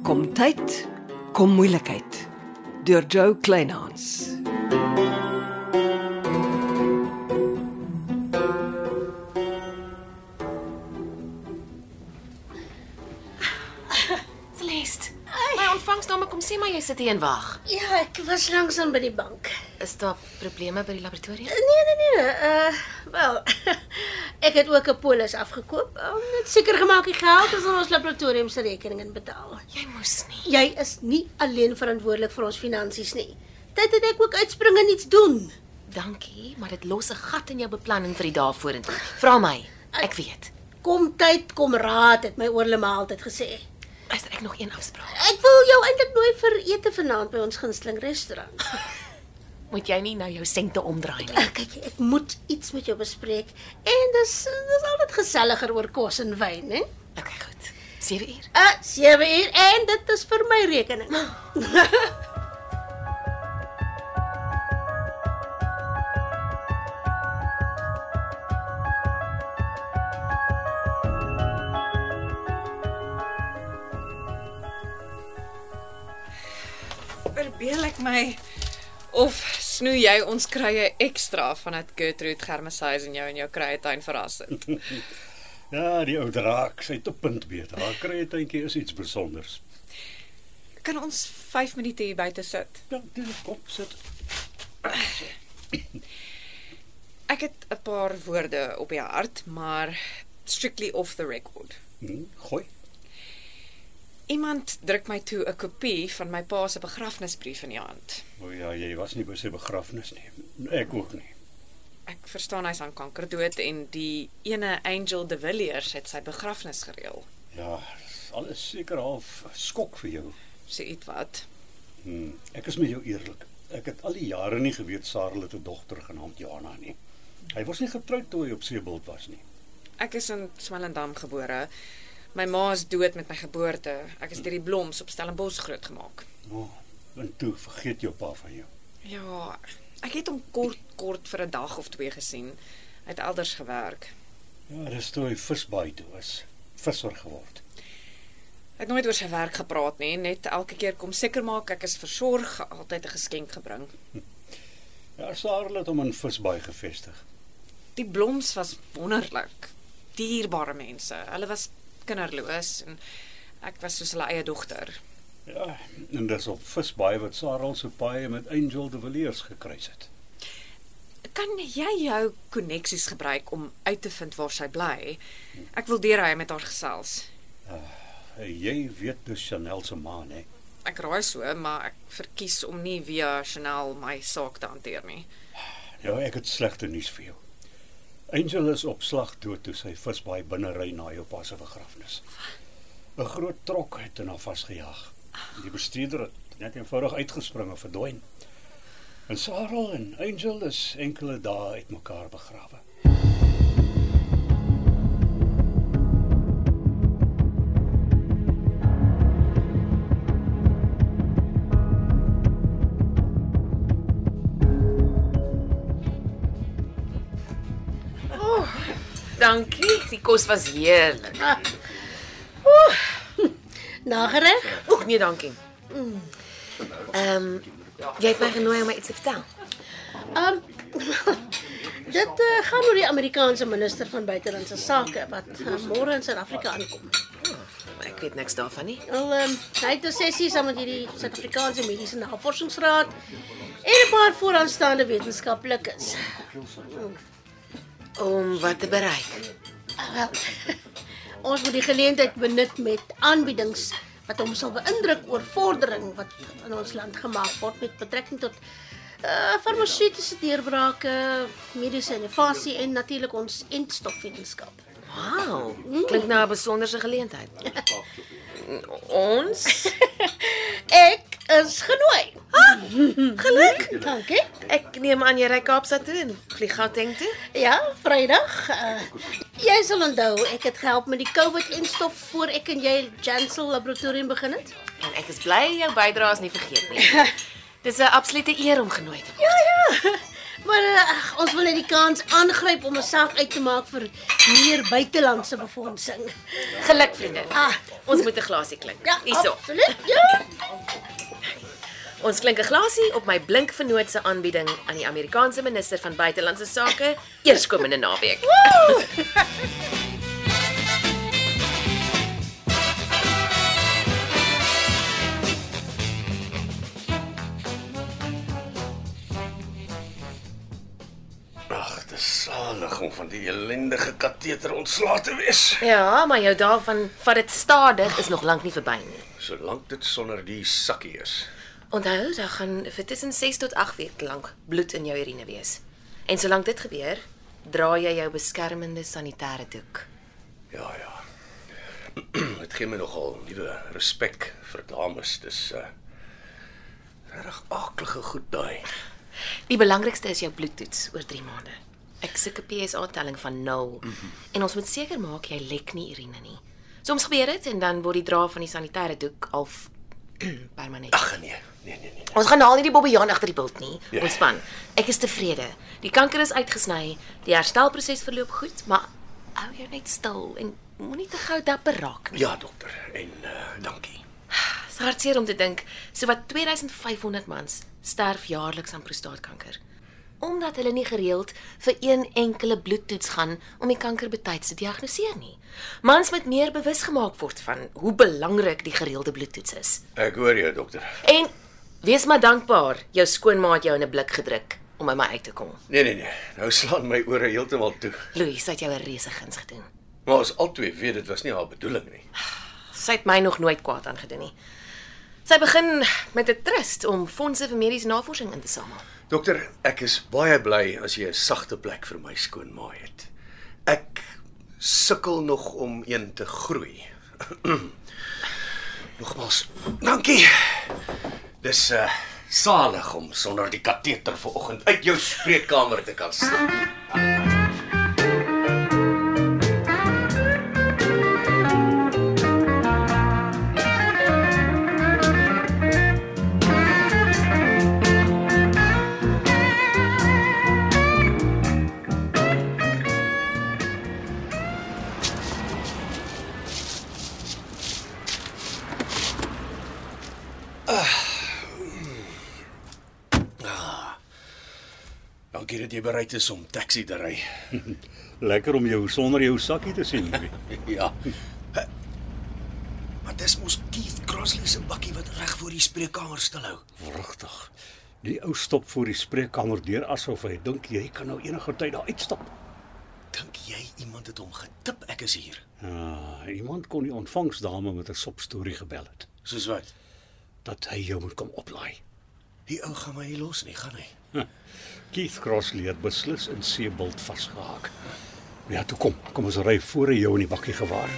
Gesondheid kom moeilikheid deur Joe Kleinhans. Celeste. My ontvangsdame kom sê maar jy sit hier en wag. Ja, ek was langsaan by die bank. Is daar probleme by die laboratorium? Nee, nee, nee. Uh, wel. ek het ook 'n polis afgekoop eh, om net seker gemaak die geld is aan ons laboratorium se rekening in betaal. Jy moes nie. Jy is nie alleen verantwoordelik vir ons finansies nie. Tyd het ek ook uitspring en iets doen. Dankie, maar dit los 'n gat in jou beplanning vir die dae vorentoe. Vra my. Ek weet. Kom tyd, kom raad, het my oorlema altyd gesê. Is ek nog een afspraak? Ek wil jou eintlik nooi vir ete vanaand by ons gunsteling restaurant. Moet jy nie nou jou sente omdraai nie. Ag, kyk, ek moet iets met jou bespreek en dis dis altyd geselliger oor kos en wyn, hè? Okay, goed. 7 uur. Uh, 7 uur en dit is vir my rekening. Verbeel ek my of snoei jy ons kruie ekstra vanat Gertrude Germesies en jou in jou kruietuin verras het. Ja, die ou draak, sy het op punt weet. Haar kruietuintjie is iets besonders. Kan ons 5 minute hier buite sit? Ja, dis kom sit. Ek het 'n paar woorde op die hart, maar strictly off the record. Hm, gooi. Iemand druk my toe 'n kopie van my pa se begrafnisbrief in die hand. O ja, jy was nie by sy begrafnis nie. Ek ook nie. Ek verstaan hy's aan kanker dood en die ene Angel De Villiers het sy begrafnis gereël. Ja, dis alles seker half skok vir jou. So iets wat. Hm, ek is met jou eerlik. Ek het al die jare nie geweet Sarah het 'n dogter genaamd Jana nie. Hy was nie getroud toe hy op Seebult was nie. Ek is in Swellendam gebore. My ma is dood met my geboorte. Ek is deur die Bloms op Stellenbosch grootgemaak. O, en toe vergeet jou pa van jou. Ja, ek het hom kort kort vir 'n dag of twee gesien. Hy het elders gewerk. Ja, dis toe hy visbaai toe is. Visser geword. Hy het nooit oor sy werk gepraat nie, net elke keer kom seker maak ek is versorg, altyd 'n geskenk gebring. Ja, Sarah het hom in visbaai gevestig. Die Bloms was wonderlik. Dierbare mense. Hulle was kinderloos en ek was soos hulle eie dogter. Ja, en dis op visbaai wat Sarah se paai met Angel De Villiers gekruis het. Kan jy jou koneksies gebruik om uit te vind waar sy bly? Ek wil deurry met haar gesels. Jy weet dus Chanel se ma, hè. Ek raai so, maar ek verkies om nie via Chanel my saak te hanteer nie. Ja, ek het slegte nuus vir jou. Angel is op slag dood toe sy visbaai binne ry na jou pa se begrafnis. 'n Groot trok het hom vasgejaag. Die bestuurder het net eenvoudig uitgespring en verdwyn. En Sarah en Angel is enkele dae uitmekaar begrawe. Dankie. Die kos was heerlik. Nagereg? Ook nee, dankie. Ehm jy het my genooi om my iets te vertel. Ehm dit uh, gaan oor die Amerikaanse minister van buitelandse sake wat uh, môre in Suid-Afrika aankom. Ek weet niks daarvan nie. Al ehm hy het 'n sessie saam met hierdie Suid-Afrikaanse Mediese Navorsingsraad en 'n paar vooraanstaande wetenskaplikes. Om wat te bereik. Ah, Wel, ons moet die geleentheid benut met aanbiedings wat ons sal beïndruk oor vordering wat in ons land gemaak word met betrekking tot uh farmaseutiese deurbrake, mediese innovasie en natuurlik ons entstofwetenskap. Wow. Klink na 'n besonderse geleentheid. Ons Ek is genooi. geluk. Dankie. Ek neem aan jy ry Kaapstad toe en vlieg Gauteng toe. Ja, Vrydag. Uh, jy sal onthou, ek het gehelp met die COVID-enstof voor ek en jy Jansel Laboratorium begin het. En ek Ja. is bly jou bydrae is nie vergeet nie. Dis 'n absolute eer om genooi te word. Ja. Maar uh, ons wil net die kans aangryp om 'n saak uit te maak vir meer buitelandse befondsing. Geluk vriende. Ah, Ons moet 'n glasie klink. ja, Hierso. absoluut. Ja. Ons klink 'n glasie op my blink vernoot se aanbieding aan die Amerikaanse minister van buitelandse sake eerskomende naweek. Ag, dis salig om van die ellendige kateter ontslae te wees. Ja, maar jou daarvan vat dit stadig is nog lank nie verby nie. Solank dit sonder die sakkie is. Onthou, daar gaan vir tussen 6 tot 8 weke lank bloed in jou urine wees. En solank dit gebeur, dra jy jou beskermende sanitêre doek. Ja, ja. Dit gee my nogal nuwe respek vir dames. Dis 'n uh, reg aaklige goed daai. Die belangrikste is jou bloedtoets oor 3 maande. Ek soek 'n PSA telling van 0 mm Mhm. -hmm. en ons moet seker maak jy lek nie urine nie. Soms gebeur dit en dan word die dra van die sanitêre doek al f- permanent. Ag nee, nee nee nee. Ons gaan haal nie die bobbejaan agter die bult nie. Ja. Ontspan. Ek is tevrede. Die kanker is uitgesny. Die herstelproses verloop goed, maar hou jou net stil en moenie te gou dapper raak nie. Ja, dokter. En uh, dankie. Dit is hartseer om te dink sowat 2500 mans sterf jaarliks aan prostaatkanker omdat hulle nie gereeld vir een enkele bloedtoets gaan om die kanker betyds te diagnoseer nie. Mans moet meer bewus gemaak word van hoe belangrik die gereelde bloedtoets is. Ek hoor jou, dokter. En wees maar dankbaar jou skoonmaat jou in 'n blik gedruk om by my uit te kom. Nee nee nee. Nou slaan my ore heeltemal toe. Louise het jou 'n reuse guns gedoen. Maar ons albei weet dit was nie haar bedoeling nie. Sy het my nog nooit kwaad aangedoen nie. Sy begin met 'n trust om fondse vir mediese navorsing in te samel. Dokter, ek is baie bly as jy 'n sagte plek vir my skoonmaai het. Ek sukkel nog om een te groei. Nogmaals, dankie. Dis uh salig om sonder die kateter vanoggend uit jou spreekkamer te kan stap. Dankie dat jy bereid is om taxi te ry. Lekker om jou sonder jou sakkie te sien. Louis. ja. Maar dis mos Keith Crossley se bakkie wat reg voor die spreekkamer stil hou. Wrigtig. Die ou stop voor die spreekkamer deur asof hy dink jy kan nou enige tyd daar uitstap. Dink jy iemand het hom getip ek is hier? Ah, iemand kon die ontvangsdame met 'n sop storie gebel het Soos wat? dat hy jou moet kom oplaai. Die ou gaan my hier los nie, gaan hy? Keith Crossley het beslis in Seebult vasgehaak. Ja, toe kom. Kom ons ry voor hy jou in die bakkie gewaar.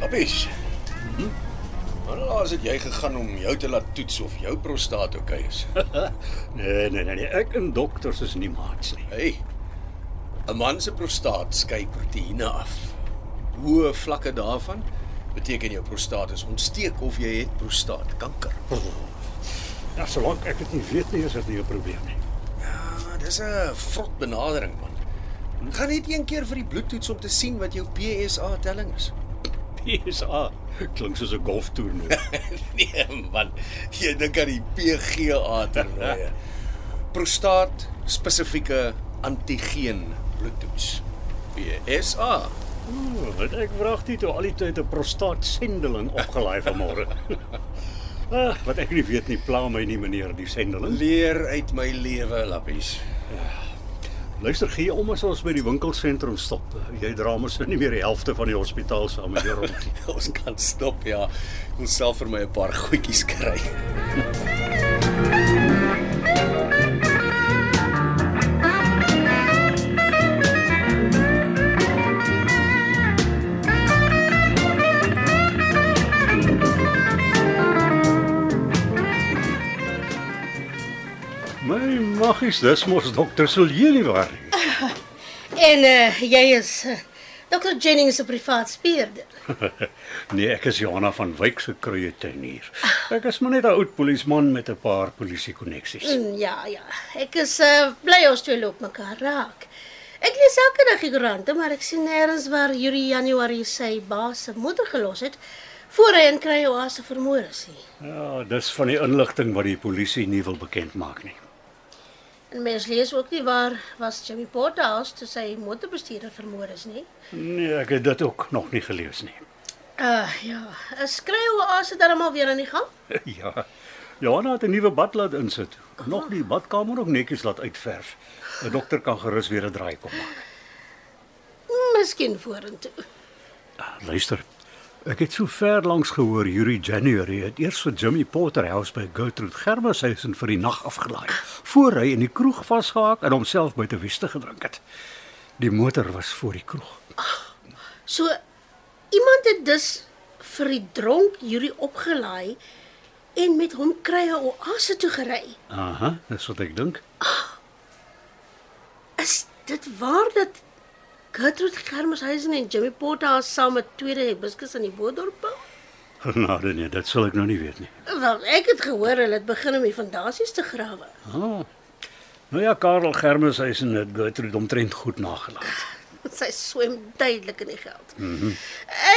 Lappies. Wanneer laas het jy gegaan om jou te laat toets of jou prostaat oukei is? Nee, nee, nee, nee. Ek en dokters is nie maats nie. Hey. 'n Man se prostaat skei proteïene af. Hoë vlakke daarvan beteken jou prostaat is ontsteek of jy het prostaatkanker. Ja, solank ek dit nie weet nie, is dit nie 'n probleem nie. Ja, dis 'n vrot benadering man. Gaan net een keer vir die bloedtoets om te sien wat jou PSA telling is. PSA klink soos 'n golftoernooi. nee man, jy dink aan die PGA toernooie. Prostaat spesifieke antigeen bloedtoets. PSA. Oeh, Wat ek vraag dit toe al die tyd 'n prostaatsendeling opgelaai vanmôre. Ah, wat ek nie weet nie, pla my nie meneer die sendeling. Leer uit my lewe lappies. Luister, gee om as ons by die winkelsentrum stop. Jy dra mos nou nie meer die helfte van die hospitaal saam met jou rond nie. Ons kan stop ja. Ek wil self vir my 'n paar goedjies kry. My maggies, dis mos dokter Silje nie waar nie. En eh, jy is eh, Dr. Jennings 'n privaat speurder. nee, ek is Johanna van Wyk se kruie tuinier. Ek is maar net 'n oud polisieman met 'n paar polisie koneksies. Mm, Ja, ja. Ek is uh, bly ons twee loop mekaar raak. Ek lees elke dag die koerante, maar ek sien nêrens waar Yuri Januarie sy baas se moeder gelos het voor hy in Kryoase vermoor is nie. Ja, dis van die inligting wat die polisie nie wil bekend maak nie. En mens lees ook nie waar was Jimmy Porterhouse toe sy motorbestuurder vermoor is nie. Nee, ek het dit ook nog nie gelees nie. Uh ja, is Kryoase darmal weer aan die gang? ja. Johanna het 'n nuwe bad laat insit. Nog die badkamer ook netjies laat uitverf. 'n Dokter kan gerus weer 'n draai kom maak. Miskien vorentoe. Luister. Ek het so ver langs gehoor Yuri January het eers vir Jimmy Potterhouse by Gertrude Germus huis in vir die nag afgelaai voor hy in die kroeg vasgehaak en homself buite wieste gedrink het. Die motor was voor die kroeg. So iemand het dus vir die dronk Yuri opgelaai en met hom Kryoase toe gery. Aha, dis wat ek dink. Is dit waar dat Gertrude Germeshuisen en Jimmy Porterhouse saam 'n tweede hibiscus in die Boerdorp bou? Genade nee, dit sal ek nou nie weet nie. Wel, ek het gehoor hulle het begin om die fondasies te grawe. Ah. Nou ja, Karel Germus huis in het Gertrude omtrent goed nagelaat. Sy swem duidelik in die geld. Mm -hmm.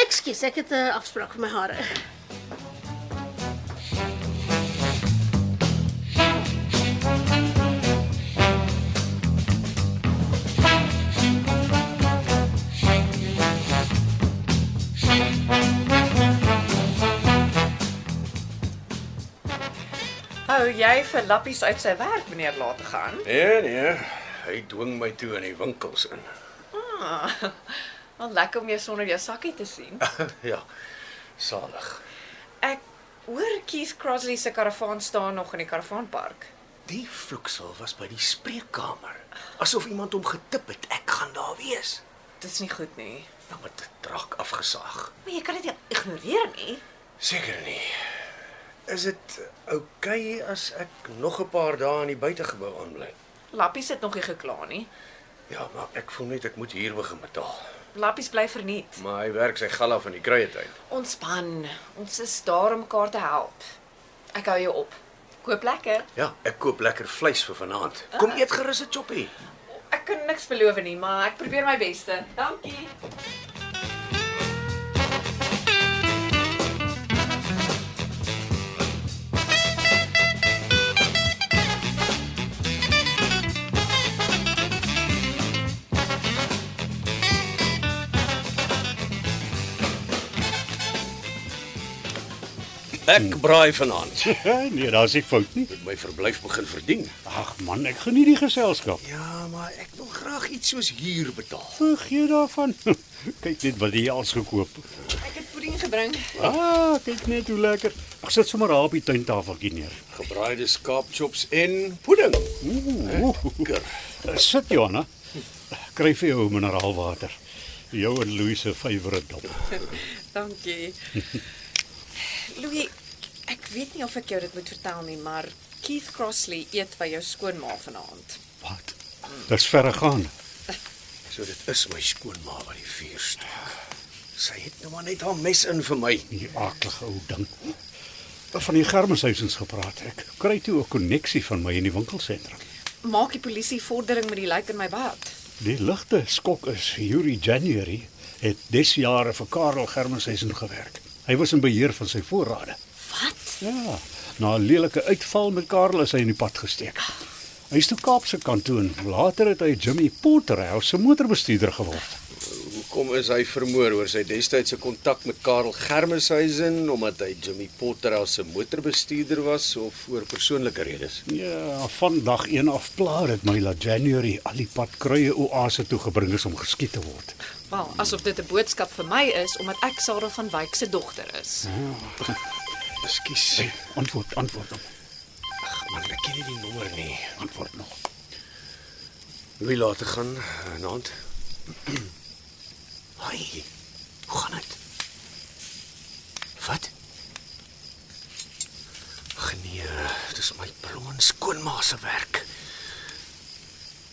Ekskuus, ek het 'n afspraak vir my hare. Hou jy vir Lappies uit sy werk meneer laat te gaan? Nee, nee. Hy dwing my toe in die winkels in. Ah. Wel lekker om jou sonder jou sakkie te sien. ja. Salig. Ek hoor Keith Crosley se karavaan staan nog in die karavaanpark. Die vloeksel was by die spreekkamer. Asof iemand hom getip het ek gaan daar wees. Dis nie goed nie. Dan het dit draak afgesaag. Maar jy kan dit nie ignoreer nie. Seker nie. Is dit oukei okay as ek nog 'n paar dae in die buitegebou aanbly? Lappies het nog nie gekla nie. Ja, maar ek voel net ek moet hier begin betaal. Lappies bly verniet. Maar hy werk sy galla van die kruietuin. Ontspan. Ons is daar om mekaar te help. Ek hou jou op. Koop lekker. Ja, ek koop lekker vleis vir vanaand. Kom eet gerus 'n choppie. Ek kan niks beloof nie, maar ek probeer my beste. Dankie. Ek braai vanaand. nee, daar's nie fout nie. Ek Hmm. my verblyf begin verdien. Ag man, ek geniet die geselskap. Ja, maar ek wil graag iets soos huur betaal. Vergeet daarvan. Kyk net wat jy als gekoop. Ek het pudding gebring. Ah, kyk net hoe lekker. Ek sit sommer daar op die tuintafeltjie neer. Gebraaide skaapchops en pudding. Ooh, Lekker. Eh, sit Johanna. Eh, Kry vir jou mineraalwater. Jou en Louise se favourite dop. Dankie. Louis, ek weet nie of ek jou dit moet vertel nie, maar Keith Crossley eet by jou skoonma vanaand. Wat? Dis verregaande. So dit is my skoonma wat die vuur steek. Sy het nou maar net haar mes in vir my. Die aaklige ou ding. Van die germeshuisens gepraat. Ek kry toe 'n koneksie van my in die winkelsentrum. Maak die polisie vordering met die lijk in my bad. Die ligte skok is Yuri January het des jare vir Karel Germeshuisen gewerk. Hy was in beheer van sy voorrade. Wat? Ja, na 'n lelike uitval met Karel is hy in die pad gesteek. Hy is toe Kaapse kant toe en later het hy Jimmy Potterhouse se motorbestuurder geword. Hoekom is hy vermoor oor sy destydse kontak met Karel Germeshuisen omdat hy Jimmy Potter as 'n motorbestuurder was of vir persoonlike redes? Ja, vandag een af plaar dit my dat January al die pad kruie oase toe gebring is om geskiet te word. Wel, asof dit 'n boodskap vir my is omdat ek Sarah van Wyk se dogter is. Ekskuus. Antwoord, antwoord hom. Man, ek ken nie die nommer nie. Antwoord nog. Wie laat gaan eh, vanaand? Hi. Hoe gaan dit? Wat? Ag nee, dis my ballon skoonma se werk.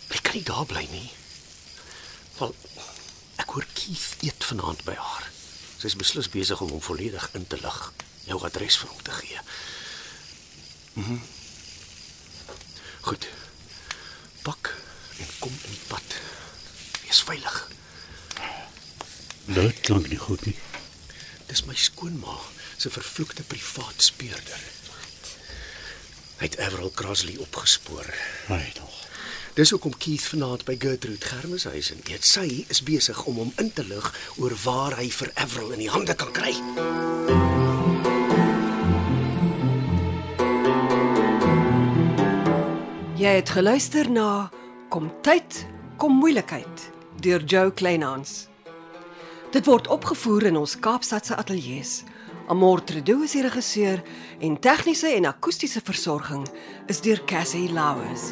Ek kan nie daar bly nie. Wel, ek hoor Keith eet vanaand by haar. Sy's beslis besig om hom volledig in te lig, jou adres vir hom te gee. Mhm. Mm Goed. Pak en kom in pad. Wees veilig. Dit klink nie goed nie. Dis my skoonma se vervloekte privaat speurder. Hy het Everal Crossley opgespoor. Hy tog. Dis hoekom Keith vanaand by Gertrude Germeshuis en eet. Sy is besig om hom in te lig oor waar hy vir Everal in die hande kan kry. Jy het geluister na Kom tyd, kom moeilikheid deur Jo Kleinhans. Dit word opgevoer in ons Kaapstadse ateljee se. Amortredo is die regisseur en tegniese en akoestiese versorging is deur Cassie Lauers.